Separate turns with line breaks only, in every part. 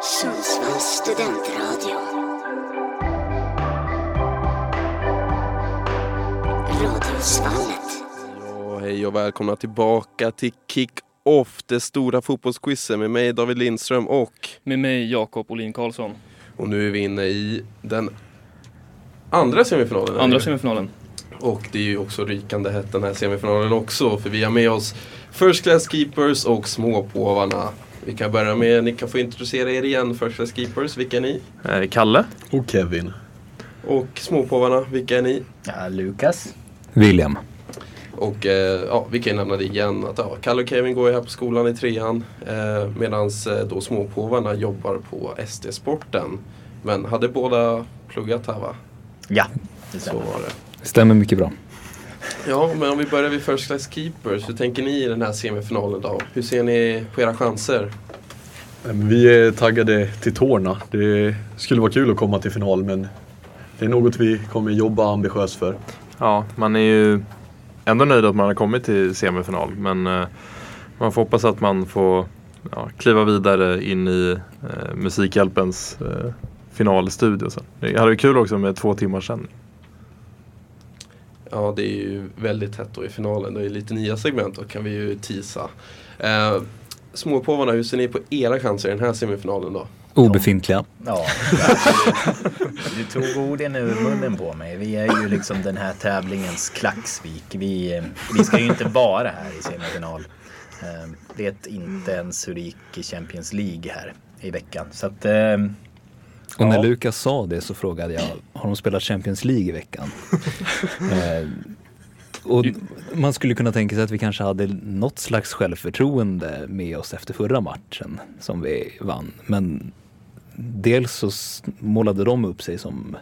Sundsvalls studentradio. Radiosvallet.
Ja, hej och välkomna tillbaka till Kick-Off, det stora fotbollsquizet med mig David Lindström och...
Med mig Jakob Olin Karlsson.
Och nu är vi inne i den andra semifinalen.
Andra semifinalen.
Och det är ju också rykande hett den här semifinalen också, för vi har med oss First Class Keepers och Småpåvarna. Vi kan börja med, ni kan få introducera er igen, First Class Keepers, vilka är ni?
Eh, Kalle.
Och Kevin.
Och Småpåvarna, vilka är ni?
Ja, Lukas.
William.
Och eh, ja, vi kan ju nämna det igen att ja, Kalle och Kevin går ju här på skolan i trean eh, medan eh, då småpåvarna jobbar på SD-sporten. Men hade båda pluggat här va?
Ja,
Så var det.
Stämmer mycket bra.
Ja, men om vi börjar vid First Class Keepers. Hur tänker ni i den här semifinalen då? Hur ser ni på era chanser?
Men Vi är taggade till tårna. Det skulle vara kul att komma till final men det är något vi kommer jobba ambitiöst för.
Ja, man är ju ändå nöjd att man har kommit till semifinal. Men eh, man får hoppas att man får ja, kliva vidare in i eh, Musikhjälpens eh, finalstudio sen. Det hade varit kul också med två timmars sändning.
Ja, det är ju väldigt tätt då i finalen. Det är lite nya segment och kan vi ju tisa. Eh, småpåvarna, hur ser ni på era chanser i den här semifinalen då?
Obefintliga.
Ja, du tog orden ur munnen på mig. Vi är ju liksom den här tävlingens Klacksvik. Vi, eh, vi ska ju inte vara här i semifinal. Eh, Vet inte ens hur det gick i Champions League här i veckan. Så att, eh,
Och när
Ja.
Lukas sa det så frågade jag, har de spelat Champions League i veckan? eh, och man skulle kunna tänka sig att vi kanske hade något slags självförtroende med oss efter förra matchen som vi vann. Men dels så s- målade de upp sig som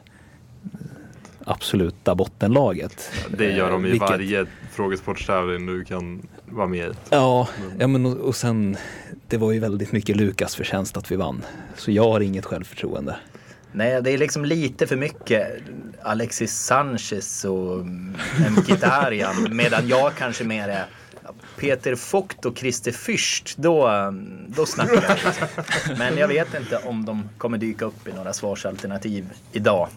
absoluta bottenlaget.
Det gör de i
Eh, vilket-
varje frågesportstävling du kan vara med i.
Ja, ja men och, och sen det var ju väldigt mycket Lukas förtjänst att vi vann. Så jag har inget självförtroende.
nej, det är liksom lite för mycket Alexis Sanchez och Mkhitaryan. medan jag kanske mer är Peter Fogt och Christer Fürst, då, eh, då snackar jag. liksom. Men jag vet inte om de kommer dyka upp i några svarsalternativ idag.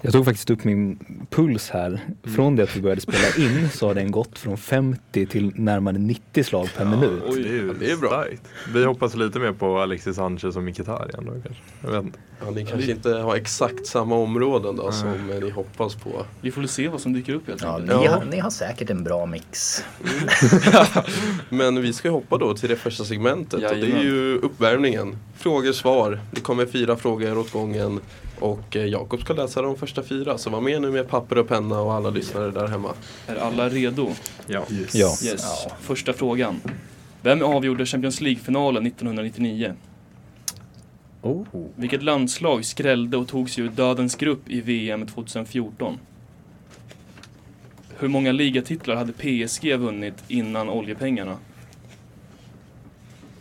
Jag tog faktiskt upp min puls här. Från det att vi började spela in så har den gått från 50 till närmare 90 slag per minut.
Oj, det är ju
det är bra.
starkt. Vi hoppas lite mer på Alexis Sanchez och Mkhitaryan då kanske. Jag vet inte.
Ja, ni kanske inte har exakt samma områden då som eh, ni hoppas på.
Vi får väl se vad som dyker upp helt
Ja,
enkelt.
ni,
Ja.
Har, ni har säkert en bra mix.
Men vi ska ju hoppa då till det första segmentet och det är
Jajamän.
ju uppvärmningen. Frågor, svar. Det kommer fyra frågor åt gången och eh, Jakob ska läsa de första fyra. Så var med nu med papper och penna och alla lyssnare där hemma.
Är alla redo?
Ja.
Ja.
Yes. Första frågan. Vem avgjorde Champions League-finalen 1999?
Oh.
Vilket landslag skrällde och tog sig ur dödens grupp i VM 2014? Hur många ligatitlar hade PSG vunnit innan oljepengarna?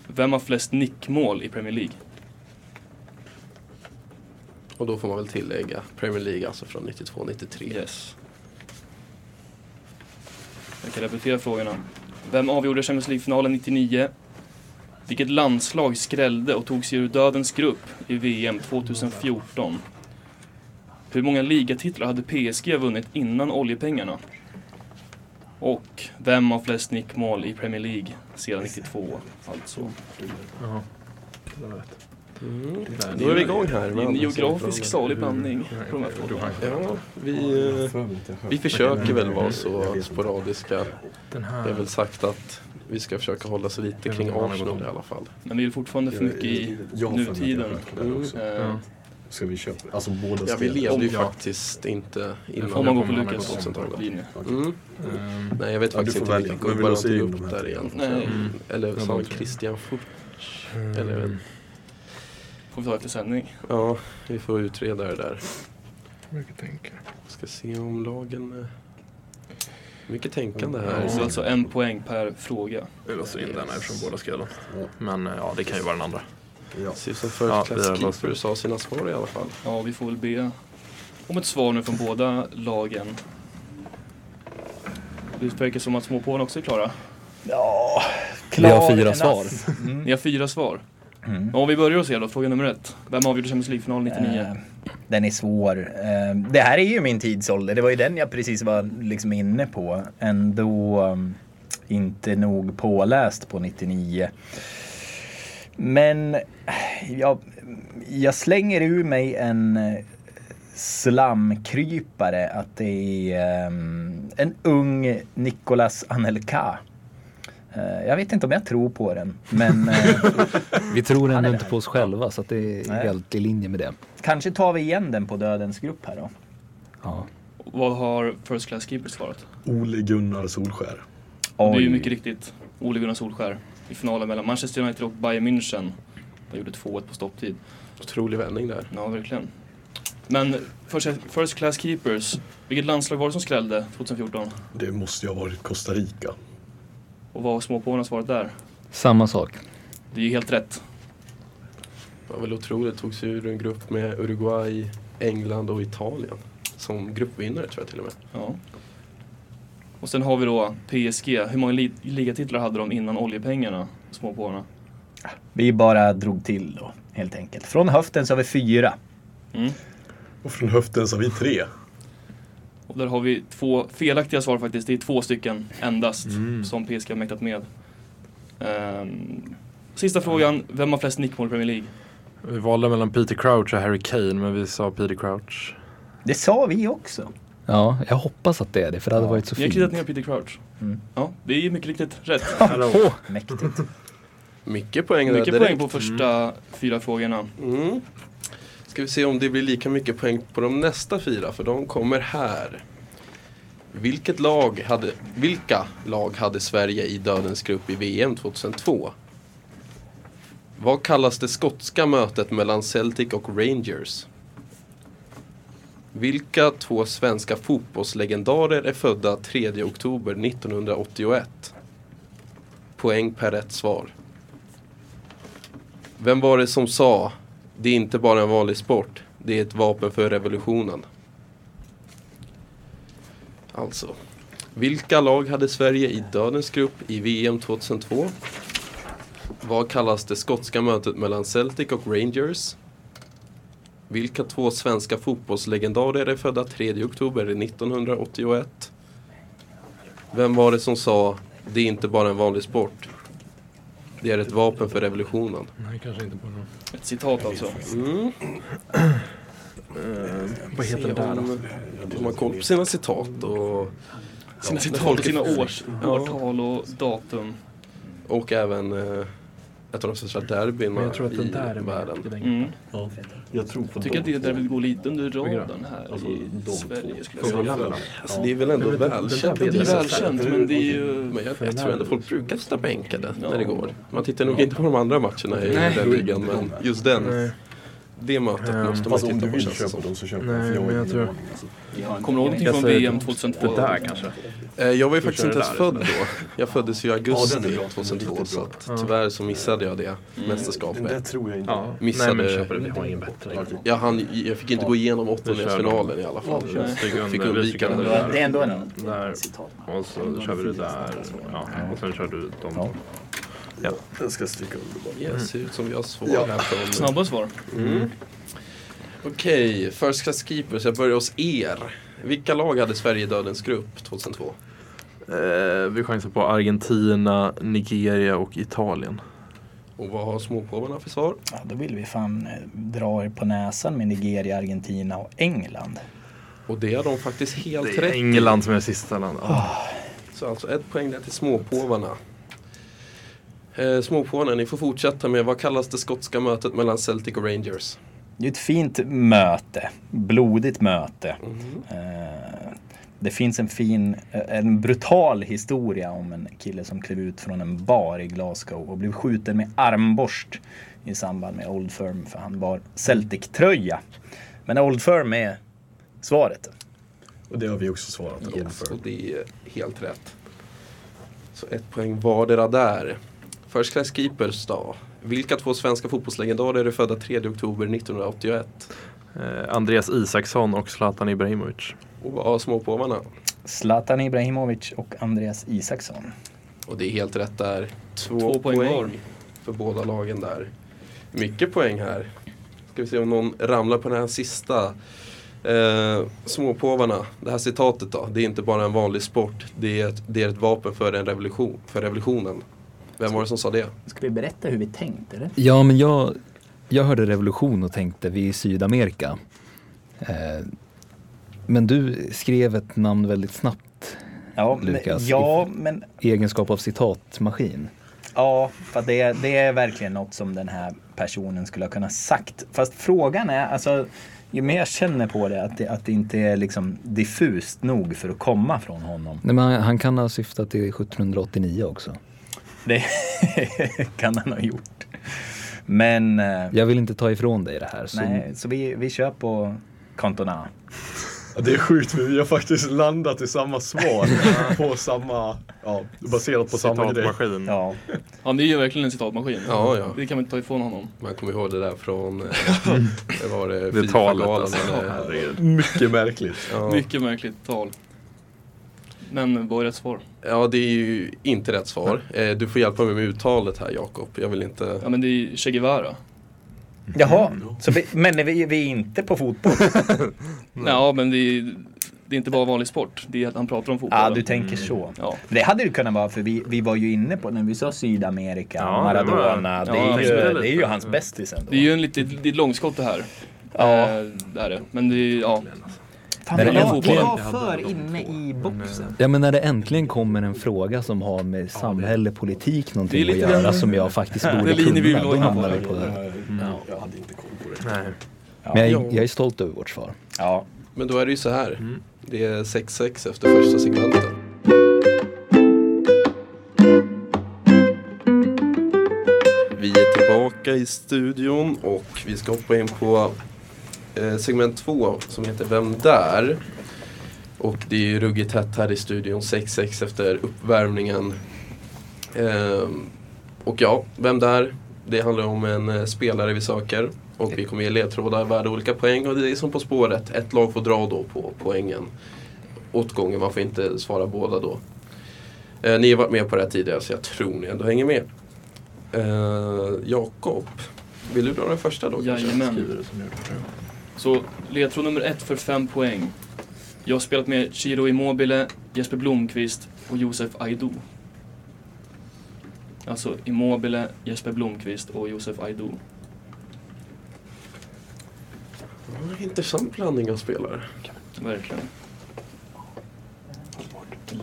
Vem har flest nickmål i Premier League?
Och då får man väl tillägga Premier League alltså från 92-93.
Yes. Jag kan repetera frågorna. Vem avgjorde Champions League-finalen 99? Vilket landslag skrällde och tog sig ur dödens grupp i VM 2014? Hur många ligatitlar hade PSG vunnit innan oljepengarna? Och vem har flest nickmål i Premier League sedan 92? Alltså.
Mm. Då är vi igång här.
Det är
med
en
andra
geografisk
sidan.
salig blandning på de här frågorna.
Ja, vi, eh, vi försöker väl vara så sporadiska.
Den
Det är
här.
väl sagt att vi ska försöka hålla oss lite kring Arsenal i alla fall.
Men vi är fortfarande för mycket i
Jag har för mig att jag
nutiden.
har hört det där också.
Eh,
Ska vi köpa? Alltså
Ja,
båda
vi
spelen.
levde ju
Ja.
faktiskt inte
Om man går
innan
på
kommer
Lukas
hamna på
linje.
Mm. Nej, jag vet
Ja,
faktiskt
du får
inte
välja.
vilka
Men vill
gubbar
du
han
se
tog
in de
upp
här
där
tre?
igen.
Nej,
Eller sa
de
han
tre.
Christian Fort?
Mm.
Eller,
får vi ta efter sändning.
ja, vi får utreda det där. Ska se om lagen... eh, Mycket tänkande här.
Det är alltså en poäng per fråga.
Vi låser in den eftersom båda ska göra Men eh, ja, det kan ju vara den andra.
Ja.
Ser ut som
Ja,
First
vi har
Class
låst
Keeper sa sina svar i alla fall.
Ja, vi får väl be om ett svar nu från båda lagen. Det verkar som att småpåvarna också är klara.
Ja,
Vi har fyra
klar en
svar.
ass.
Ni har fyra svar. Men Om vi börjar och ser då, fråga nummer ett. Vem avgjorde Champions League-finalen 99?
Eh, Den är svår. Eh, Det här är ju min tidsålder. Det var ju den jag precis var liksom inne på. Ändå um, inte nog påläst på 99. Men eh, jag, jag slänger ur mig en eh, slamkrypare att det är ehm, en ung Nicolas Anelka. Eh, Jag vet inte om jag tror på den, men eh,
Vi tror
är
ändå
det
inte
här.
på oss själva så att det är
Nej.
helt i linje med det.
kanske tar vi igen den på Dödens grupp här då.
Ja.
Vad har First Class Keeper svarat?
Ole Gunnar Solskär.
Det är ju mycket riktigt Ole Gunnar Solskär i finalen mellan Manchester United och Bayern München. De gjorde 2-1 på stopptid.
Otrolig vändning där.
Ja, verkligen. Men First, first Class Keepers, vilket landslag var det som skrällde 2014?
Det måste ju ha varit Costa Rica.
Och vad har småpåvarna svarat där?
Samma sak.
Det är ju helt rätt.
Det var väl otroligt. Tog sig ur en grupp med Uruguay, England och Italien. Som gruppvinnare tror jag till och med.
Ja. Och sen har vi då PSG. Hur många li- ligatitlar hade de innan oljepengarna, småpåvarna?
Vi bara drog till då, helt enkelt. Från höften så har vi fyra.
Mm.
Och från höften så har vi tre.
Och där har vi två felaktiga svar faktiskt. Det är två stycken endast som PSG har mäktat med. Ehm, sista frågan. Vem har flest nickmål i Premier League?
Vi valde mellan Peter Crouch och Harry Kane men vi sa Peter Crouch.
Det sa vi också.
Ja, jag hoppas att det är det för det hade
Ja.
varit så
Ni har kritat
fint.
ner Peter Crouch.
Mm.
Ja, det är ju mycket riktigt rätt.
Mäktigt.
Mycket poäng där
Mycket
direkt.
poäng på första fyra frågorna.
Mm. Ska vi se om det blir lika mycket poäng på de nästa fyra, för de kommer här. Vilket lag hade, vilka lag hade Sverige i dödens grupp i VM 2002? Vad kallas det skotska mötet mellan Celtic och Rangers? Vilka två svenska fotbollslegendarer är födda 3 oktober 1981? Poäng per rätt svar. Vem var det som sa det är inte bara en vanlig sport, det är ett vapen för revolutionen? Alltså, vilka lag hade Sverige i dödens grupp i VM 2002? Vad kallas det skotska mötet mellan Celtic och Rangers? Vilka två svenska fotbollslegendarer är födda 3 oktober 1981? Vem var det som sa det är inte bara en vanlig sport, det är ett vapen för revolutionen?
Nej, kanske inte på någon.
Ett citat alltså.
Mm.
Vad heter
Se
den där då?
om- om man har koll på sina citat och,
Sina citat,
folk är-
sina års,
Ja.
årtal och datum.
och även eh, ett av de största derbyna i världen.
Mm.
Ja, jag tror på
Jag tycker att det där vill gå lite under radarn här
Alltså,
i
de två.
Sverige skulle jag säga.
Alltså, det är väl ändå välkänt.
Det är
det.
välkänt men det är ju...
Men jag, jag tror ändå folk brukar sitta bänkade
Ja.
när det går. Man tittar nog inte på de andra matcherna i
Nej.
den ligan men just den, det mötet
Ehm,
måste man
Fast om
titta
du
på
vill
känns det
köpa
som.
dem så köp dem.
Nej,
för
men
är
jag
ingen
tror-
aning, alltså.
Kommer du ihåg någonting
Jag
från
säger
VM
det-
2002?
Det där kanske.
Eh, Jag var ju faktiskt inte
kör
ens
där.
född då. Jag föddes ju i
Ja, den är
augusti
bra. Mm. Den är
2002
riktigt
så
bra.
att tyvärr så missade jag det
Den där
mästerskapet.
tror jag inte.
Ja.
Missade-
Nej, men köper det. Vi har ingen bättre.
Jag, hann, jag fick inte gå igenom åttondelsfinalen i alla fall.
Nej.
Jag fick undvika den.
där.
Det är ändå en...
Där. Och så kör vi det där. Ja. Och sen kör du de två.
Den ska jag stryka under bara.
Det
Mm.
ser ut som vi har svar
Ja.
här från...
Snabba svar.
Okej, First Class Keepers, jag börjar hos er. Vilka lag hade Sverige i dödens grupp 2002?
Eh, vi chansar på Argentina, Nigeria och Italien.
Och vad har småpåvarna för svar?
Ja, då vill vi fan eh, dra er på näsan med Nigeria, Argentina och England.
Och det har de faktiskt helt
Det är
rätt i.
England som är sista land.
Ah,
Så alltså ett poäng där till småpåvarna. Eh, småpåvarna, ni får fortsätta med vad kallas det skotska mötet mellan Celtic och Rangers?
Det är ett fint möte. Blodigt möte. Eh, Det finns en fin, eh, en brutal historia om en kille som klev ut från en bar i Glasgow och blev skjuten med armborst i samband med Old Firm för han bar Celtic-tröja. Men Old Firm är svaret.
Och det har vi också svarat. Old
Yes, och
Firm.
det är helt rätt. Så ett poäng vardera där. First Class Keepers då? Vilka två svenska fotbollslegendarer är födda 3 oktober 1981?
Eh, Andreas Isaksson och Zlatan Ibrahimovic.
Och vad har småpåvarna?
Zlatan Ibrahimovic och Andreas Isaksson.
Och det är helt rätt där. Två,
Två poäng var.
för båda lagen där. Mycket poäng här. Ska vi se om någon ramlar på den här sista. Eh, småpåvarna, det här citatet då. Det är inte bara en vanlig sport. Det är ett, det är ett vapen för, en revolution, för revolutionen. Vem var det som sa det?
Ska vi berätta hur vi tänkte? Eller?
Ja, men jag, jag hörde revolution och tänkte vi är i Sydamerika. Eh, men du skrev ett namn väldigt snabbt
Ja,
Lukas,
men, ja, men
i egenskap av citatmaskin.
Ja, för att det, det är verkligen något som den här personen skulle ha kunnat sagt. Fast frågan är, alltså, ju mer jag känner på det, att det, att det inte är liksom diffust nog för att komma från honom.
Nej, men han, han kan ha syftat till 1789 också.
Det kan han ha gjort. Men, eh,
Jag vill inte ta ifrån dig det här. Så
nej, så vi, vi kör på Cantona.
Ja, det är sjukt, men vi har faktiskt landat i samma svar. på samma, ja, baserat på samma grej.
Citatmaskin.
Ja,
Ja, det är ju verkligen en citatmaskin.
Ja, ja.
Det kan man inte ta ifrån honom.
Man kommer ihåg det där från eh, det var det,
Det talet
Fifa-galan.
alltså.
eller-
Herregud.
Mycket märkligt.
Ja.
Mycket märkligt tal. Men vad är rätt svar?
ja, det är ju inte rätt svar. Eh, du får hjälpa mig med uttalet här Jakob. Jag vill inte...
Ja, men det är ju Che Guevara.
jaha. Så vi, men vi, vi är inte på fotboll?
Ja, men det är, det är inte bara vanlig sport. Det är att han pratar om fotboll.
Ja, ah, du tänker så.
Ja.
Det hade det kunnat vara för vi, vi var ju inne på när vi sa Sydamerika,
Ja, det
Maradona.
var-
Det,
ja,
är
jag
tänkte
ju,
det
det är ju
lite.
hans bästis ändå.
Det är ju en lite, det är ett långskott det här.
Ja.
Eh, det är det. Men det är, ja.
Fan,
När det
jag, jag,
äntligen-
var för inne i
eh,
boxen.
Ja men när det äntligen kommer en fråga som har med samhälle, politik någonting
Det är lite
att göra
den-
som jag faktiskt
Det
borde
är linje vi
kunna,
vill
då
gå in på.
hamnar vi på det.
Jag hade inte koll på det.
Nej.
Men jag, är- jag är stolt över vårt svar.
Ja.
Men då är det ju så här. Det är 6-6 efter första segmenten. Vi är tillbaka i studion och vi ska hoppa in på eh, segment 2 som heter Vem där? Och det är ju ruggigt hett här i studion 6-6 efter uppvärmningen. Ehm, och ja, Vem där? Det handlar om en eh, spelare vi söker och vi kommer ge ledtrådar värda olika poäng och det är som På spåret, ett lag får dra då på poängen åt gången, man får inte svara båda då. Eh, ni har varit med på det här tidigare så jag tror ni ändå hänger med. Eh, Jakob, vill du dra den första då? kanske?
Jajamän. Så ledtråd nummer ett för fem poäng. Jag har spelat med Chiro Immobile, Jesper Blomqvist och Josef Aido. Alltså Immobile, Jesper Blomqvist och Josef Aido.
Ja, Intressant blandning av spelare.
Verkligen.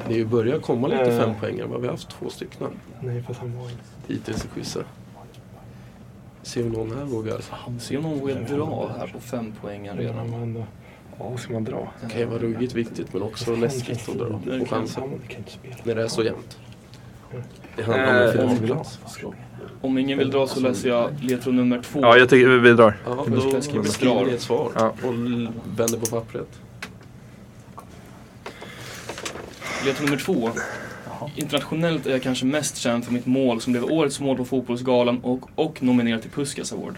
Det är ju börjar komma lite
Eh.
fem poängar. Vi har haft två stycken
Nej, fast han var inte.
hittills i quizet. Se om någon här vågar.
Se om någon vågar dra här på fem poängen
Men
redan.
han var ändå... Ja, ska man dra?
Det kan ju vara ruggigt viktigt men också läskigt att dra på chansen.
Han kan inte spela. Mm.
När det är så jämnt. Det handlar om en
Eh,
finalplats.
Om ingen vill dra så läser jag ledtråd nummer två.
Ja, jag tycker vi- vi drar.
Ja,
Men
då
jag skriver
skriver
drar.
ni ett svar
Ja.
och l- vänder på pappret.
Ledtråd nummer två. Internationellt är jag kanske mest känd för mitt mål som blev årets mål på Fotbollsgalan och, och nominerad till Puskas Award.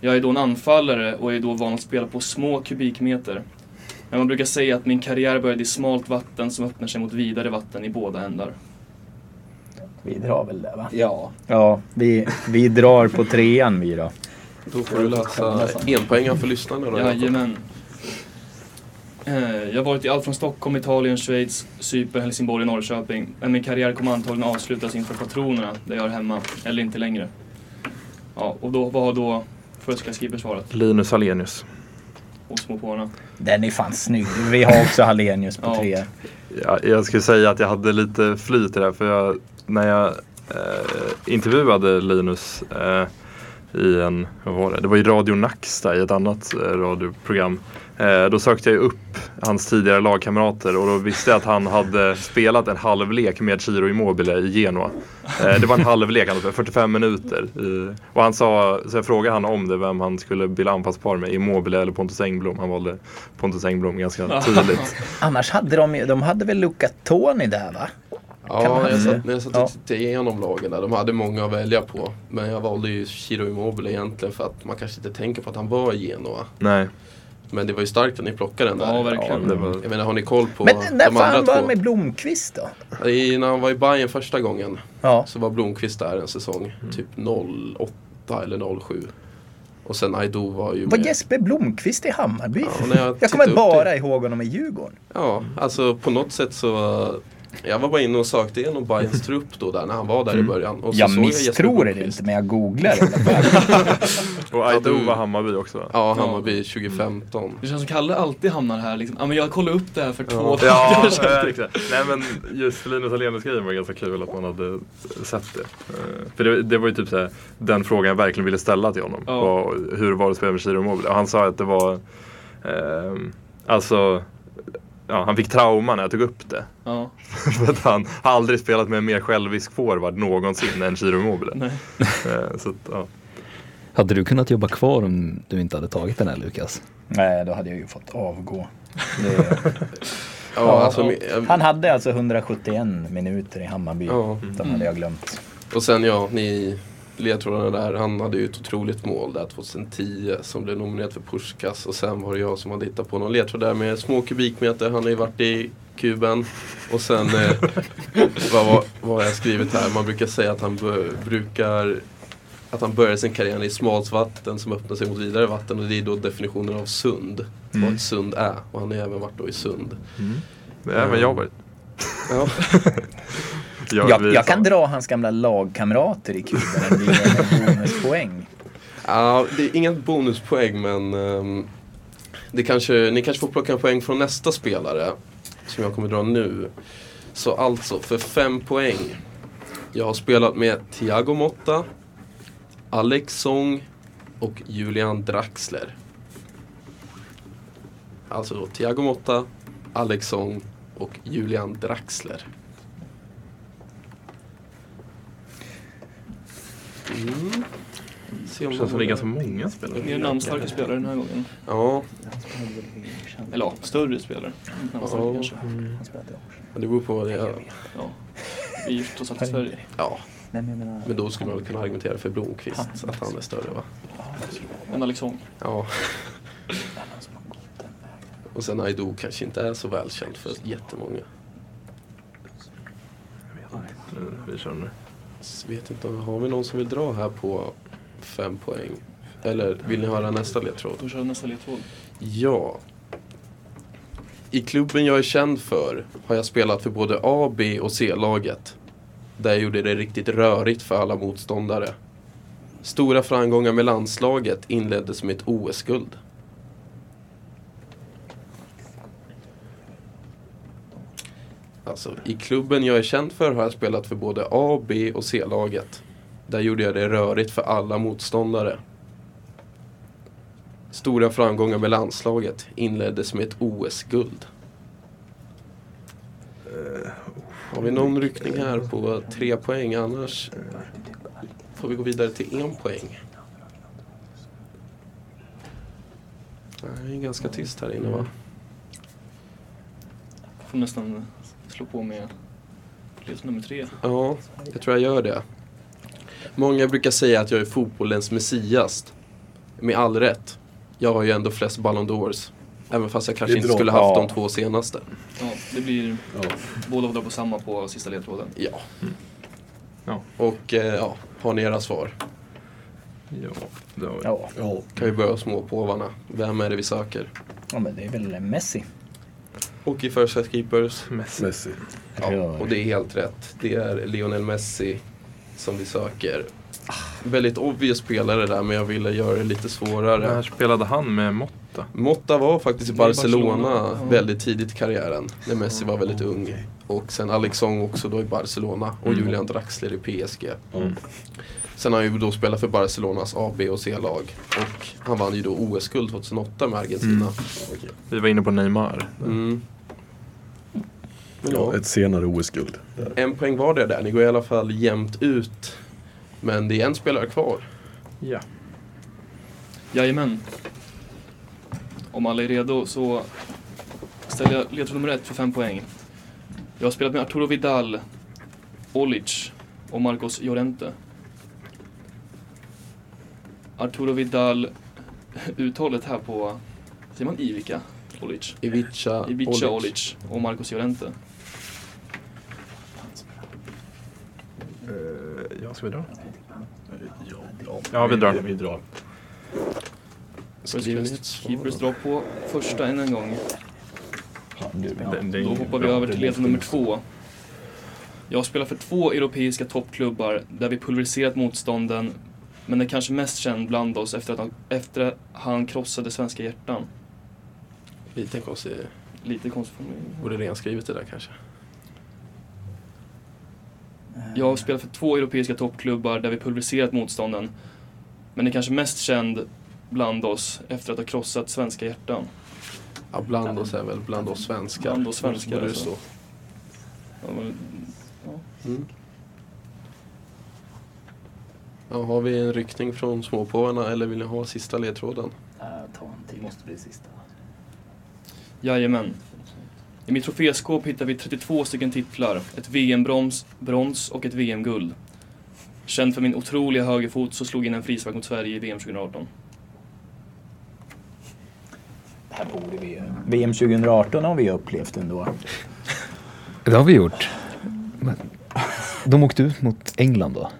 Jag är då en anfallare och är då van att spela på små kubikmeter. Men man brukar säga att min karriär började i smalt vatten som öppnar sig mot vidare vatten i båda ändar.
Vi drar väl det va? Ja. Ja, vi, vi drar på trean vi då.
Då får du läsa enpoängen för lyssnarna då. Jakob.
Jajamän. Eh, Jag har varit i allt från Stockholm, Italien, Schweiz, Cypern, Helsingborg och Norrköping. Men min karriär kommer antagligen avslutas inför Patronerna, där jag är hemma. Eller inte längre. Ja, och då, vad har då Första Skipper svarat?
Linus Alenius.
Och småpåarna.
Den är fan snygg. Vi har också Hallenius på
Ja.
tre.
Ja, jag skulle säga att jag hade lite flyt i det här för jag, när jag eh, intervjuade Linus eh, i en, vad var det? Det var i Radio Nacksta i ett annat eh, radioprogram. Eh, då sökte jag upp hans tidigare lagkamrater och då visste jag att han hade spelat en halvlek med Ciro Immobile i Genoa. Eh, det var en halvlek, han hade spelat 45 minuter. I, och han sa, så jag frågade han om det, vem han skulle bilda anfallspar med, Immobile eller Pontus Engblom. Han valde Pontus Engblom ganska tydligt.
Annars hade de ju, de hade väl Luca Toni där va? Kan
Ja,
man
jag
säga.
satt, när jag satt
Mm. Ja.
och tittade igenom lagen där, de hade många att välja på. Men jag valde ju Chiro Immobile egentligen för att man kanske inte tänker på att han var i Genoa.
Nej.
Men det var ju starkt att ni plockade den där.
Ja, verkligen.
Ja, det var...
Jag menar, har ni koll på
Men när
de andra
fan var
två?
med Blomqvist då?
I, när han var i Bayern första gången
Ja. Mm.
så var Blomqvist där en säsong, typ 08 eller 07. Och sen Aido var ju
Var
med.
Jesper Blomqvist i Hammarby?
Ja, när jag
jag
tittade
kommer
upp
bara
det-
ihåg honom i Djurgården.
Ja, alltså på något sätt så eh, jag var bara inne och sökte igenom Bayerns trupp då där när han var där i början. Och så
Mm.
såg
Jag
Jesper
misstror det
Blomqvist.
inte men jag googlar det.
Och Aido
du-
var Hammarby också va?
Ja, Hammarby 2015.
Det känns som Kalle alltid hamnar här liksom. Ja men jag kollade upp det här för två
Ja,
dagar sedan.
eh, exakt. Nej men just Linus Alenius grejen var ganska kul att man hade sett det. Eh, För det, det var ju typ såhär, den frågan jag verkligen ville ställa till honom.
Ja.
Var, hur var det att spela med Shiro Immobile? Och han sa att det var, ehm, alltså, ja, han fick trauma när jag tog upp det.
Ja.
För att han har aldrig spelat med en mer självisk forward någonsin än Shiro Immobile.
Nej.
Eh, Så att, ja.
Hade du kunnat jobba kvar om du inte hade tagit den här Lukas?
Nej, då hade jag ju fått avgå. Det...
Ja, alltså, men- jag-
Han hade alltså 171 minuter i Hammarby.
Ja.
De hade jag glömt.
Och sen ja, ni ledtrådarna där. Han hade ju ett otroligt mål där 2010 som blev nominerad för Puskas. Och sen var det jag som hade hittat på någon ledtråd där med små kubikmeter. Han har ju varit i kuben. Och sen, eh, vad, vad, vad har jag skrivit här? Man brukar säga att han bö- brukar att han började sin karriär i smalt vatten som öppnar sig mot vidare vatten och det är då definitionen av sund. Vad ett sund är. Och han har ju även varit då i sund.
Ja, men jag var
Ja.
Ehm, Jag, jag kan dra hans gamla lagkamrater i kuben och ge honom bonuspoäng.
Ja, det är inga bonuspoäng men ehm, det kanske, ni kanske får plocka en poäng från nästa spelare som jag kommer dra nu. Så alltså, för fem poäng. Jag har spelat med Thiago Motta, Alex Song och Julian Draxler. Alltså då Thiago Motta, Alex Song och Julian Draxler. Mm. Se om
Det känns som det
någon-
är ganska många spelare.
Ni är namnstarka spelare den här gången.
Ja,
Eller ja, större spelare. Namnstarka
Ja.
kanske.
men det beror på vad det är.
Ja. Vi är ju trots allt i Sverige.
Ja, men då skulle man väl kunna argumentera för Blomqvist, att han är större va?
En Alexong.
Ja. Och sen Aido kanske inte är så välkänd för jättemånga.
Eh, Vi kör nu.
Så vet inte, om- har vi någon som vill dra här på fem poäng? Eller vill ni höra nästa ledtråd?
Då kör vi nästa ledtråd.
Ja. I klubben jag är känd för har jag spelat för både A, B och C-laget. Där jag gjorde det riktigt rörigt för alla motståndare. Stora framgångar med landslaget inleddes med ett OS-guld. Alltså, i klubben jag är känd för har jag spelat för både A, B och C-laget. Där gjorde jag det rörigt för alla motståndare. Stora framgångar med landslaget inleddes med ett OS-guld. Har vi någon ryckning här på tre poäng? Annars får vi gå vidare till en poäng. Det är ganska tyst här inne va?
Får nästan slå på med ledtråd nummer tre.
Ja, jag tror jag gör det. Många brukar säga att jag är fotbollens Messias. Med all rätt. Jag har ju ändå flest Ballon d'Ors. Även fast jag kanske
Det är
inte
bra.
skulle haft de
Ja.
två senaste.
Ja, det blir
Ja.
båda drar på samma på sista ledtråden.
Ja.
Ja.
Och eh, ja, har ni era svar?
Ja, det var
Ja,
Ja,
Kan vi börja hos småpåvarna. Vem är det vi söker?
ja, men det är väl Messi.
Och i First Set Keepers.
Messi.
Messi.
Ja,
Rör.
och det är helt rätt. Det är Lionel Messi som vi söker. Väldigt obvious spelare där, men jag ville göra det lite
När
svårare.
spelade han med Motta?
Motta var faktiskt i
Det är
Barcelona,
Barcelona. Ja.
väldigt tidigt i karriären. När Messi var väldigt ung. Och sen Alex Song också då i Barcelona. Och Julian Draxler i PSG. Sen har han ju då spelat för Barcelonas A, B och C-lag. Och han vann ju då OS-guld 2008 med Argentina.
Vi var inne på Neymar.
Mm. Ja.
Ja, ett senare OS-guld.
En poäng var det där. Ni går i alla fall jämnt ut. Men det är en spelare kvar.
Ja.
Jajamän. Om alla är redo så ställer jag ledtråd nummer ett för fem poäng. Jag har spelat med Arturo Vidal, Olic och Marcos Llorente. Arturo Vidal, uttalet här på, säger man Ivica? Olic?
Ivica,
Ivica Olic och Marcos Llorente.
Ja, ska vi dra? Ja, vi drar.
Skrivits.
Keepers drop på första än en gång.
Den- den-
Då hoppar vi över till ledare nummer två. Jag spelar för två europeiska toppklubbar där vi pulveriserat motstånden men är kanske mest känd bland oss efter att han, efter att han krossade svenska hjärtan.
Lite konstig.
Lite konstigt formulering.
Borde renskrivet det där kanske.
Jag spelar för två europeiska toppklubbar där vi pulveriserat motstånden men är kanske mest känd bland oss efter att ha krossat svenska hjärtan.
Ja, bland oss är väl bland oss svenskar.
Bland oss svenskar,
Borde det
alltså.
stå.
Ja, men-
Mm. Ja, har vi en ryckning från småpåvarna eller vill ni ha sista ledtråden?
Äh, ta en till. måste bli sista.
Jajamän. I mitt troféskåp hittar vi 32 stycken titlar, ett VM-brons, brons och ett VM-guld. Känd för min otroliga högerfot så slog in en frispark mot Sverige i VM 2018.
Det här borde vi ju. VM 2018 har vi upplevt ändå.
Det har vi gjort. Men de åkte ut mot England då.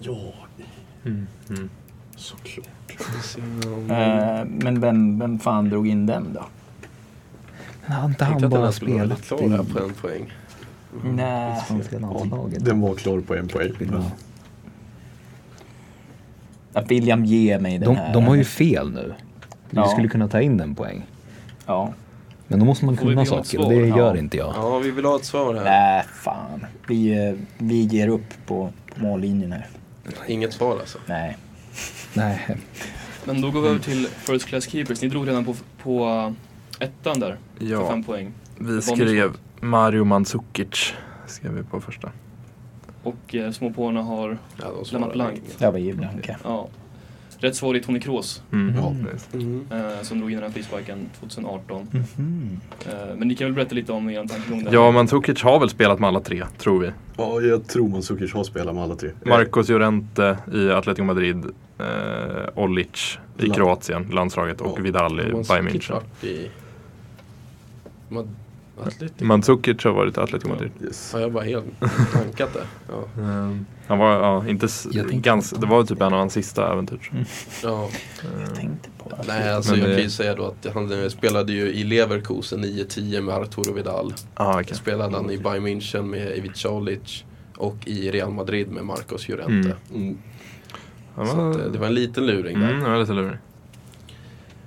Ja,
mm.
såklart.
Eh, men vem, vem fan drog in den då?
Men har inte
Tänkte
han
att den här
bara
skulle vara
spelat
lite
i
klar här på en poäng. Mm.
Nej.
svenska landslaget?
Den var klar på en poäng. Men
Att William ger mig den
De,
här.
de har ju fel nu. Vi
Ja.
skulle kunna ta in en poäng.
Ja.
Men då måste man
Får vi
kunna
be om ett
saker och
svar?
det
Ja.
gör inte jag.
Ja, vi vill ha ett svar här.
Nej, fan. Vi, eh, vi ger upp på mållinjen här.
Inget svar alltså.
Nej.
Nej.
Men då går
Mm.
vi över till First Class Keepers. Ni drog redan på, på eh, ettan där, för
Ja,
fem poäng.
vi skrev Mario Mandzukic. Skrev vi på första.
Och eh, småpåarna har,
Ja, de
Lämna
svarar
blankt.
inget.
Det var ju blanka.
ja. Rätt svar är Tony Kroos,
Mm.
Ja.
Just.
Mm.
eh, som drog in den här frisparken 2018. Eh, men ni kan väl berätta lite om er tankegång där?
Ja, Mandzukic har väl spelat med alla tre, tror vi.
Ja, jag tror Mandzukic har spelat med alla tre.
Marcos Llorente i Atletico Madrid, eh, Olic i
La-
Kroatien, landslaget och
Ja.
Vidal i
Man
Bayern
sitter
München.
klart i... Man... Atletico?
Mandzukic har varit i Atletico
Ja.
Madrid.
Yes.
Ja, jag har bara helt tankat det. Ja.
Eh,
Ehm.
han var, ja, inte s-
Jag tänkte-
ganska, det var typ en av hans sista äventyr.
Ja.
Jag tänkte på det.
Nej, alltså
Men
jag
det-
kan ju säga då att han eh, spelade ju i Leverkusen 9-10 med Arturo Vidal.
Ah, okay.
Spelade han i Bayern München med Ivic Olic och i Real Madrid med Marcos Llorente.
Mm.
Mm.
Han
Så att, eh, det var en liten luring där.
mm, det var lite lurig.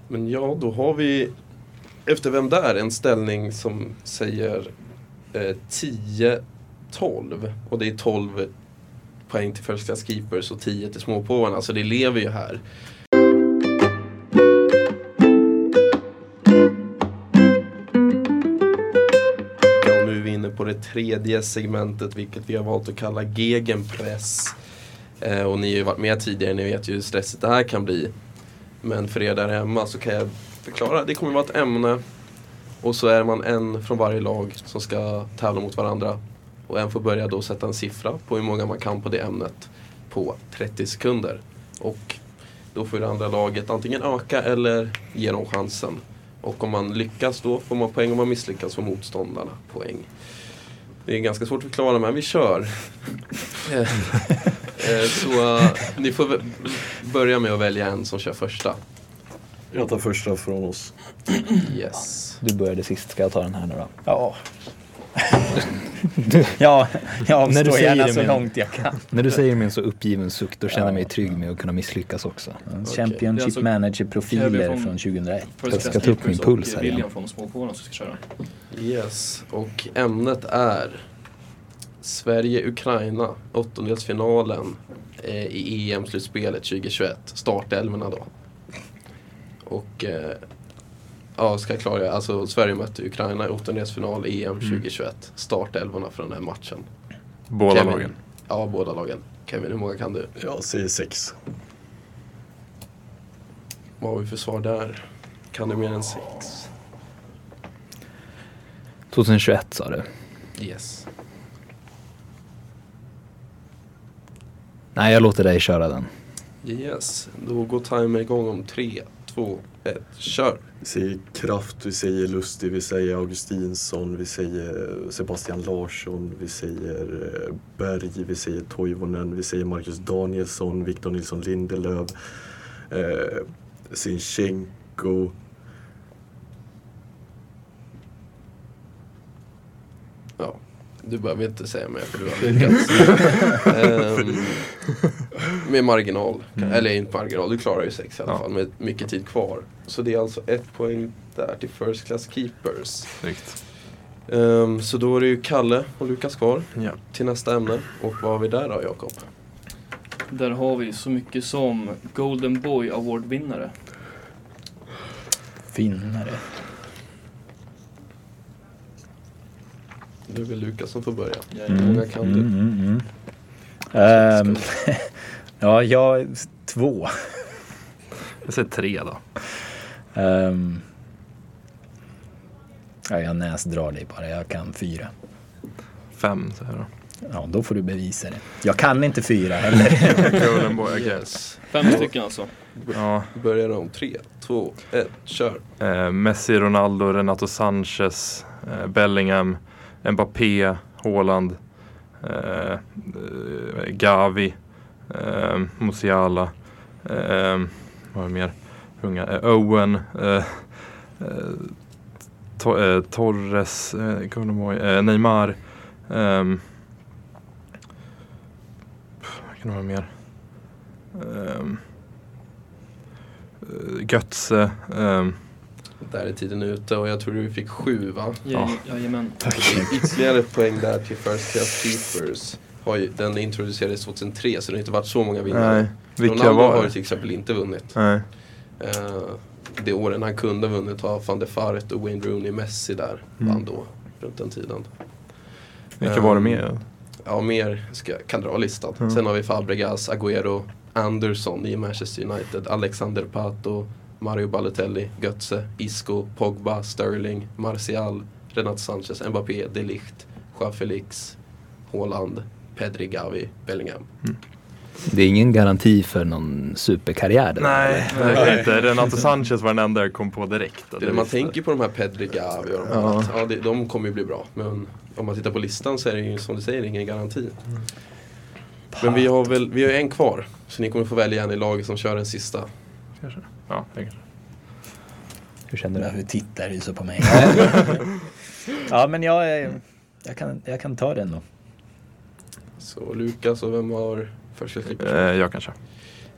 Men ja, då har vi efter vem där en ställning som säger eh, 10-12. Och det är 12 poäng till First Class Keepers och 10 till småpåvarna. Så det lever ju här. Ja, och nu är vi inne på det tredje segmentet vilket vi har valt att kalla gegenpress. Eh, och ni har ju varit med tidigare, ni vet ju hur stressigt det här kan bli. Men för er där hemma så kan jag förklara. Det kommer vara ett ämne och så är man en från varje lag som ska tävla mot varandra. Och en får börja då sätta en siffra på hur många man kan på det ämnet på 30 sekunder. Och då får det andra laget antingen öka eller ge dem chansen. Och om man lyckas då får man poäng, om man misslyckas får motståndarna poäng. Det är ganska svårt att förklara men vi kör. Eh, eh, så eh, ni får vä- börja med att välja en som kör första.
Jag tar första från oss.
Yes.
Du började sist, ska jag ta den här nu då?
Ja. ja, jag
När du
avstår
säger
gärna
det,
så
menar-
långt jag kan.
När du säger min så uppgiven suck, då känner jag mig trygg med att kunna misslyckas också.
Championship
Det är alltså Kevin
Manager-profiler
från-
från 2001.
First
Jag
Class
ska ta upp
Keepers
min puls
och
här
William
igen.
från småpåarna som ska köra.
Yes, och ämnet är Sverige-Ukraina, åttondelsfinalen eh, i EM-slutspelet 2021. Startelvorna då. Och eh, ja, ska jag klara alltså Sverige mötte Ukraina i åttondelsfinal i
Mm.
EM 2021. Startelvorna för den här matchen.
Båda
Kevin.
lagen.
Ja, båda lagen. Kevin, hur många kan du?
Jag säger sex.
Vad har vi för svar där? Kan du mer än sex?
2021 sa du?
Yes.
Nej, jag låter dig köra den.
Yes, då går timer igång om tre, två, ett, kör!
Vi säger Kraft, vi säger Lustig, vi säger Augustinsson, vi säger eh, Sebastian Larsson, vi säger eh, Berg, vi säger Toivonen, vi säger Marcus Danielsson, Victor Nilsson Lindelöf, eh, Sinchenko.
Ja, du behöver inte säga mer för du har lyckats. Ehm, med marginal,
Mm.
eller inte marginal, du klarar ju sex i alla
Ja.
fall med mycket tid kvar. Så det är alltså ett poäng där till First Class Keepers.
Snyggt.
Ehm, så då är det ju Kalle och Lukas kvar
Ja.
till nästa ämne. Och vad har vi där då Jakob?
Där har vi så mycket som Golden Boy Award-vinnare.
Finnare.
Det är väl Lukas som får börja.
Mm,
Många kan du.
mm, mm, mm. Ehm, ja, jag två.
Jag säger tre då.
Ehm, ja, jag näsdrar dig bara. Jag kan fyra.
Fem säger jag då.
Ja, då får du bevisa det. Jag kan inte fyra heller.
Golden boy, okej.
Yes.
Fem stycken alltså.
Ja.
Börjar om tre, två, ett, kör.
Eh, Messi, Ronaldo, Renato Sanchez, eh, Bellingham, Mbappé, Haaland, eh, eh, Gavi, eh, Musiala, eh, vad är det mer? Unga, eh, Owen, eh, eh, to, eh, Torres, eh, kommer de ihåg, eh, Neymar. ehm, pff, vad kan det vara mer? Ehm, eh, Götze. ehm,
Där är tiden ute och jag tror du fick sju va?
Ja.
Ja. Jajamän.
Ytterligare ett poäng där till First Class Keepers. Har ju, den introducerades 2003 så det har inte varit så många vinnare.
Nej, vilka
Ronaldo
var
har ju
det?
till exempel inte vunnit.
Nej.
Eh, det åren han kunde ha vunnit har van der Fart och Wayne Rooney Messi där
Mm.
vann då. Runt den tiden.
Vilka
Ehm,
var det med?
Ja, mer ska, jag- kan dra listan. Sen har vi Fabregas, Agüero, Anderson i Manchester United, Alexander Pato, Mario Balotelli, Götze, Isco, Pogba, Sterling, Martial, Renato Sanchez, Mbappé, De Ligt, Joao Felix, Haaland, Pedri, Gavi, Bellingham.
Det är ingen garanti för någon superkarriär. där.
Nej, verkligen inte. Renato Sanchez var den enda jag kom på direkt. att
Det är
jag
man
visste.
tänker på de här Pedri, Gavi och de här,
Ja.
att, ja, det, de kommer ju bli bra. Men om man tittar på listan så är det ju som du säger ingen garanti. Men vi har väl vi har ju en kvar, så ni kommer få välja en i laget som kör den sista.
Kanske. Ja, jag kanske.
Hur känner du?
Varför tittar du så på mig? ja, men jag, eh, jag, kan, jag kan ta den då.
Så Lukas och vem har första klippet?
Eh, jag kanske.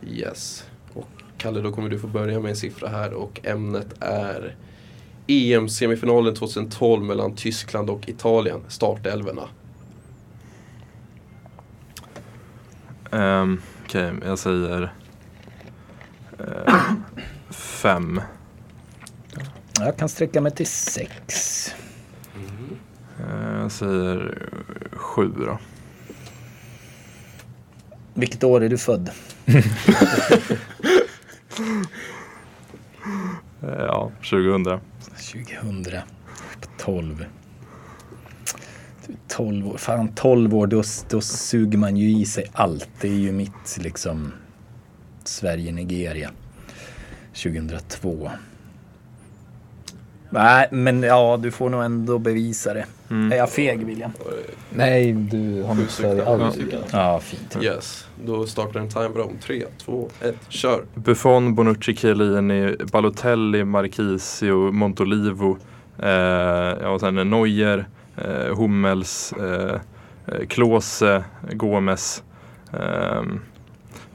Yes. Och Kalle, då kommer du få börja med en siffra här och ämnet är EM-semifinalen 2012 mellan Tyskland och Italien, startelverna.
Ehm, Okej, jag säger eh, fem.
Jag kan sträcka mig till sex.
Eh, jag säger sju då.
Vilket år är du född?
Eh, ja, 2000.
2000. På 12. Du, 12 år. Fan, 12 år, då, då suger man ju i sig allt. Det är ju mitt liksom Sverige-Nigeria. 2002. Nej, men ja, du får nog ändå bevisa det.
Mm.
Är jag feg, William?
Nej, du har nog större aldrig.
Ja, fint.
Yes. Då startar en timer om. 3, 2, 1, kör!
Buffon, Bonucci, Chiellini, Balotelli, Marchisio, Montolivo, eh, ja, och sen Neuer, eh, Hummels, eh, eh, Klose, Gomes, eh,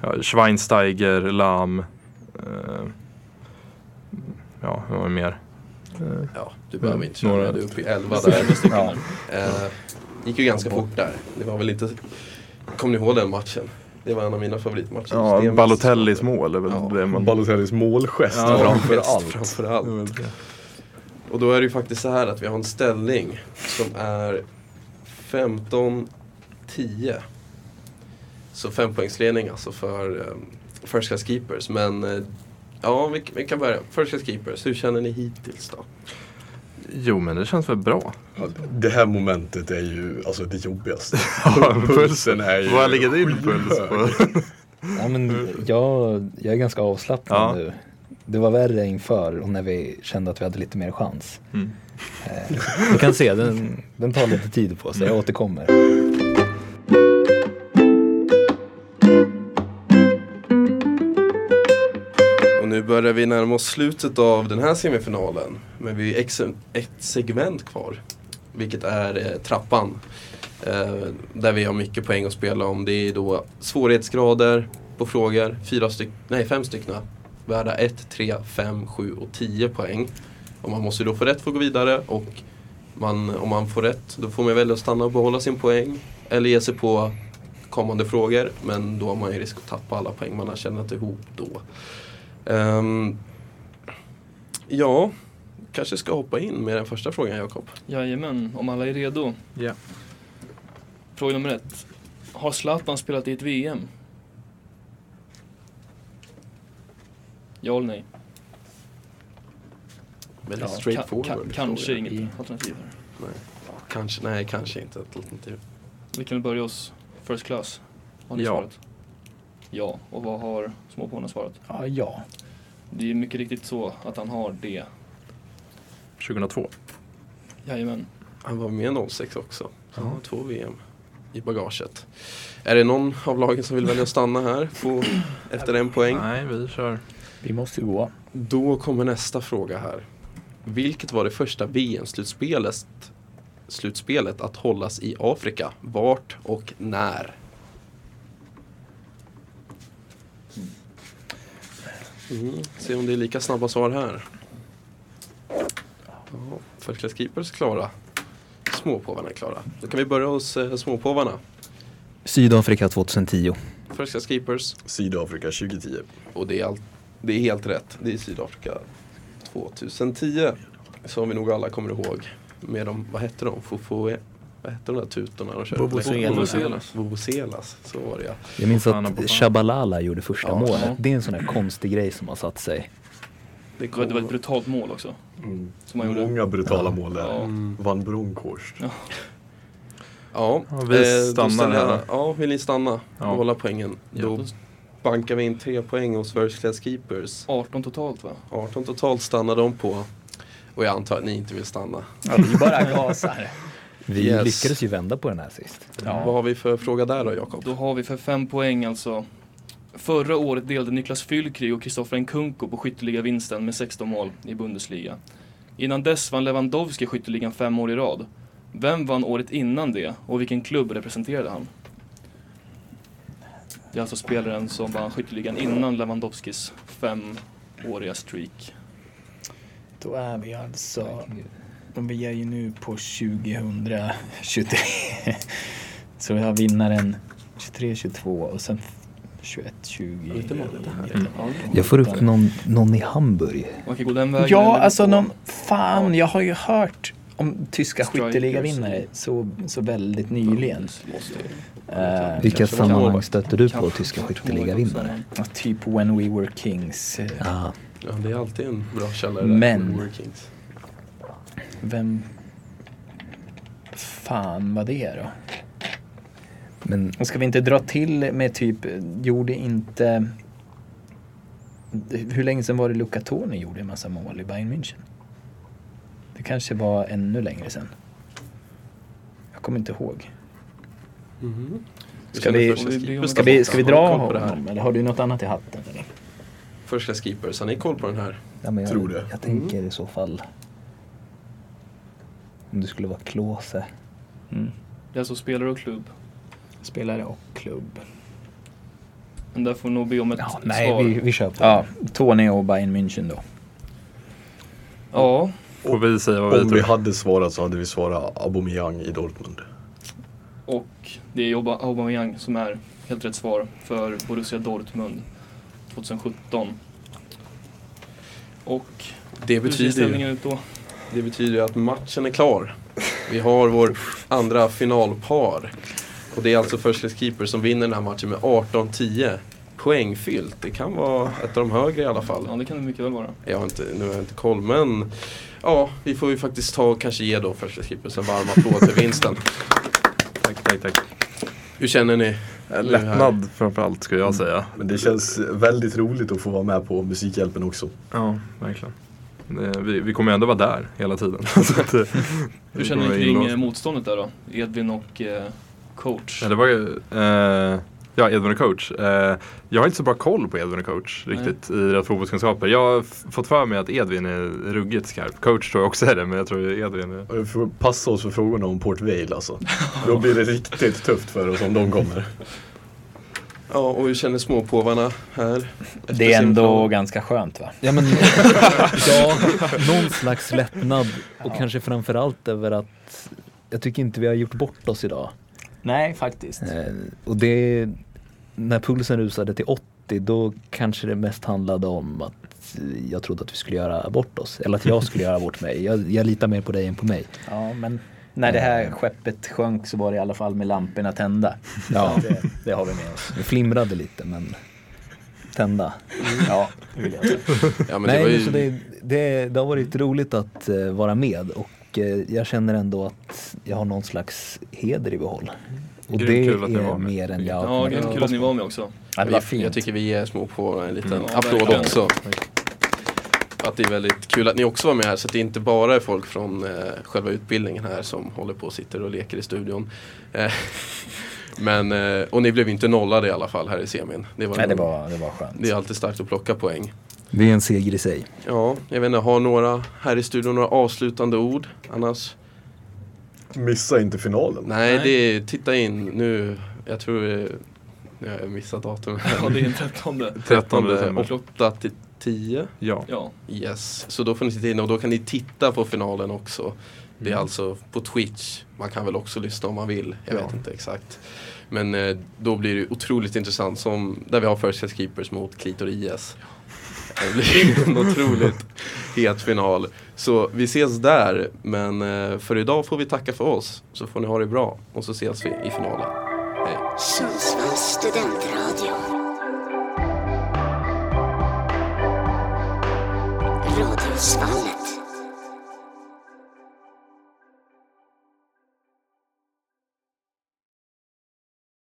ja, Schweinsteiger, Lahm, eh, ja, vad var det mer?
Ja, du behöver
Mm,
inte köra.
några.
Du är uppe i 11 där.
Ja.
Eh, gick ju ganska fort där. Det var väl inte... Kommer ni ihåg den matchen? Det var en av mina favoritmatcher.
Ja,
Stenmästare.
Balotellis mål är väl
Ja.
det man...
Balotellis målgest
Ja,
framför
Bäst
allt.
Framför allt. Och då är det ju faktiskt så här att vi har en ställning som är 15-10. Så fempoängsledning alltså för um, First Class Keepers. Men eh, ja, vi, vi kan börja. First Class Keepers, hur känner ni hittills då?
Jo, men det känns väl bra.
Det här momentet är ju alltså det jobbigaste.
pulsen.
Pulsen är ju
Vad ligger din puls
skyhög.
på?
Ja, men jag, jag är ganska avslappnad
Ja.
nu. Det var värre inför och när vi kände att vi hade lite mer chans.
Mm.
Eh, Du kan se, den, den tar lite tid på
Mm.
sig. Jag återkommer.
Och nu börjar vi närma oss slutet av den här semifinalen. Men vi är ex- ett segment kvar. Vilket är eh, trappan. Eh, där vi har mycket poäng att spela om. Det är då svårighetsgrader på frågor. Fyra styck, nej, fem stycken. Värda 1, 3, 5, 7 och 10 poäng. Och man måste då få rätt för att gå vidare. Och man, om man får rätt, då får man välja att stanna och behålla sin poäng. Eller ge sig på kommande frågor. Men då har man ju risk att tappa alla poäng man har tjänat ihop då. Ehm, ja, kanske ska hoppa in med den första frågan Jakob.
Jajamän, om alla är redo.
Ja.
Fråga nummer ett. Har Zlatan spelat i ett VM? Ja eller nej?
Väldigt
Ja,
straightforward.
ka- ka-
fråga.
kanske inget
Ja.
alternativ här.
kanske. Nej, kanske inte ett alternativ.
Vi kan börja hos First Class. Har ni
Ja.
svarat? Ja. Och vad har småpåarna svarat?
Ja, ja.
Det är mycket riktigt så att han har det.
2002.
Jajamän.
Han var med 06 också. Han har två VM i bagaget. Är det någon av lagen som vill välja att stanna här på, efter en poäng?
Nej, vi kör.
Vi måste ju gå.
Då kommer nästa fråga här. Vilket var det första VM-slutspelet slutspelet att hållas i Afrika? Vart och när? Mm. Se om det är lika snabba svar här. Ja, First Keepers klara. Småpåvarna är klara. Då kan vi börja hos eh, småpåvarna.
Sydafrika 2010.
First Class Keepers.
Sydafrika 2010.
Och det är, allt, det är helt rätt. Det är Sydafrika 2010. Som vi nog alla kommer ihåg. Med de, vad hette de? Fofo, vad hette de där tutorna de körde?
Vuvuzelas.
Vuvuzelas. Vuvuzelas, så var det ja.
Jag minns
Fofana, Fofana.
att Shabalala gjorde första
Ja.
målet. Det är en sån här konstig grej som har satt sig.
Det
Det var, det var ett
kom,
brutalt mål också. Som han gjorde.
Många brutala mål där.
Ja.
Van Bronckhorst.
ja, Eh,
Ja, vi
då
stannar
ställer jag-
här.
Ja, vill ni stanna
Ja.
och hålla poängen?
Ja,
Då
då-
bankar vi in tre poäng hos First Class Keepers.
18 totalt va?
18 totalt stannar de på. Och jag antar att ni inte vill stanna.
Ja, vi bara gasar.
Vi
Yes.
lyckades ju vända på den här sist.
Vad har vi för fråga där då, Jakob?
Då har vi för fem poäng alltså. Förra året delade Niklas Füllkrug och Kristoffer Nkunku på skytteligavinsten med 16 mål i Bundesliga. Innan dess vann Lewandowski skytteligan fem år i rad. Vem vann året innan det och vilken klubb representerade han? Det är alltså spelaren som vann skytteligan innan Lewandowskis femåriga streak.
Då är vi alltså... Vi är ju nu på 2023. Så vi har vinnaren 23, 22 och sen 21, 20.
Lite mål
Jag får upp någon, någon i Hamburg.
Man kan gå den vägen.
Ja,
eller
alltså
gå-
någon, fan, jag har ju hört om tyska
Strikers.
skytteligavinnare så, så väldigt nyligen. Eh,
Vilka
Kanske var
sammanhang
målvakt.
stötte du på
Kanske
tyska
var målvakt
skytteligavinnare?
också.
typ When We Were Kings. Eh,
Ah,
Ja, det är alltid en bra källa det där.
Men-
Workings.
Vem fan var det då?
men
Och ska vi inte dra till med typ, gjorde inte... Hur länge sedan var det Luca Toni gjorde en massa mål i Bayern München? Det kanske var ännu längre sedan. Jag kommer inte ihåg.
Mm-hmm.
Ska
känner
vi-
First Class
vi-
Keepers
Ska vi, ska vi
borta. Har
dra
ni koll på det här?
honom eller har du något annat i hatten? Eller?
First Class Keepers, har ni koll på den här?
Ja, men jag,
Tror det.
jag tänker i så fall om det skulle vara Klose.
Det är alltså spelare och klubb.
Spelare och klubb.
Men där får vi nog be om ett
Ja,
svar.
nej, vi, vi kör på.
Ja, Toni och Bayern München då.
Ja,
Får vi säga vad vi
Om vi
tror?
hade svarat så hade vi svarat Aubameyang i Dortmund.
Och det är Auba- Aubameyang som är helt rätt svar för Borussia Dortmund 2017. Och
Det
hur ser
betyder, ju,
ställningen ut då?
det betyder ju att matchen är klar. Vi har vår andra finalpar. Och det är alltså First Class Keepers som vinner den här matchen med 18-10. Poängfyllt. Det kan vara ett av de högre i alla fall.
Ja, det kan det mycket väl vara.
Jag har inte, nu har jag inte koll, men ja, vi får ju faktiskt ta och kanske ge då First Class Keepers en varm applåd för vinsten.
Tack, tack, tack.
Hur känner ni?
Lättnad framförallt skulle jag säga.
Men det känns väldigt roligt att få vara med på Musikhjälpen också.
Ja, verkligen. Det- eh, Vi, vi kommer ju ändå vara där hela tiden. Så att, eh,
Hur
vi
känner
kommer
ni eh,
in
kring
och-
eh, motståndet där då? Edvin och eh, coach.
Ja, det var ju, eh, Ja, Edvin och coach. Eh, jag har inte så bra koll på Edvin och coach riktigt i deras fotbollskunskaper. Jag har f- fått för mig att Edvin är ruggigt skarp. Coach tror jag också är det, men jag tror Edvin är...
Vi får Passa oss Eh, för frågorna om Port Vale alltså. Då blir det riktigt tufft för oss om de kommer.
Ja, och hur känner småpåvarna här? efter
Det är
sin
ändå
plan?
ganska skönt va?
Ja, men, ja, någon slags lättnad och kanske framförallt över att jag tycker inte vi har gjort bort oss idag.
Nej, faktiskt.
Eh, och det, när pulsen rusade till 80 då kanske det mest handlade om att eh, jag trodde att vi skulle göra bort oss. Eller att jag skulle göra bort mig. Jag, jag litar mer på dig än på mig.
Ja, men när det här skeppet sjönk så var det i alla fall med lamporna tända.
Ja,
Det, det har vi med oss.
det flimrade lite men tända.
Ja, det vill jag säga.
Ja, men det
Nej,
var
men
ju...
så det, det, det har varit roligt att eh, vara med och eh, jag känner ändå att jag har någon slags heder i behåll. Och
Grymt
det
kul att ni var
är
med.
mer än jag har
Ja,
kunnat
grymt kul
hoppas
att ni
på.
var med också.
Ja, det var
Jag- Jag
fint.
tycker vi ger småpåvarna en liten
Mm, ja,
applåd
verkligen.
också. Att det är väldigt kul att ni också var med här så att det inte bara är folk från eh, själva utbildningen här som håller på och sitter och leker i studion. Eh, men, eh, och ni blev inte nollade i alla fall här i semin. Det, var
Nej, det
en-
var, det var skönt.
det är alltid starkt att plocka poäng.
Det är en seger i sig.
Ja, jag vet inte, har några här i studion några avslutande ord annars?
Missa inte finalen.
Nej,
Nej.
det är, titta in nu. Jag tror eh, nu har jag missat datumet.
Ja, det är den 13.
13 december.
8 till 10.
Ja.
Ja,
Yes, så då får ni titta in och då kan ni titta på finalen också. Det är alltså på Twitch. Man kan väl också lyssna om man vill. Jag vet inte exakt. Men eh, då blir det otroligt intressant som där vi har First Class Keepers mot Klitor IS. Det blir en otroligt het final. Så vi ses där, men eh, för idag får vi tacka för oss. Så får ni ha det bra och så ses vi i finalen. Hej!
Sundsvalls studentradio. Radiosvallet.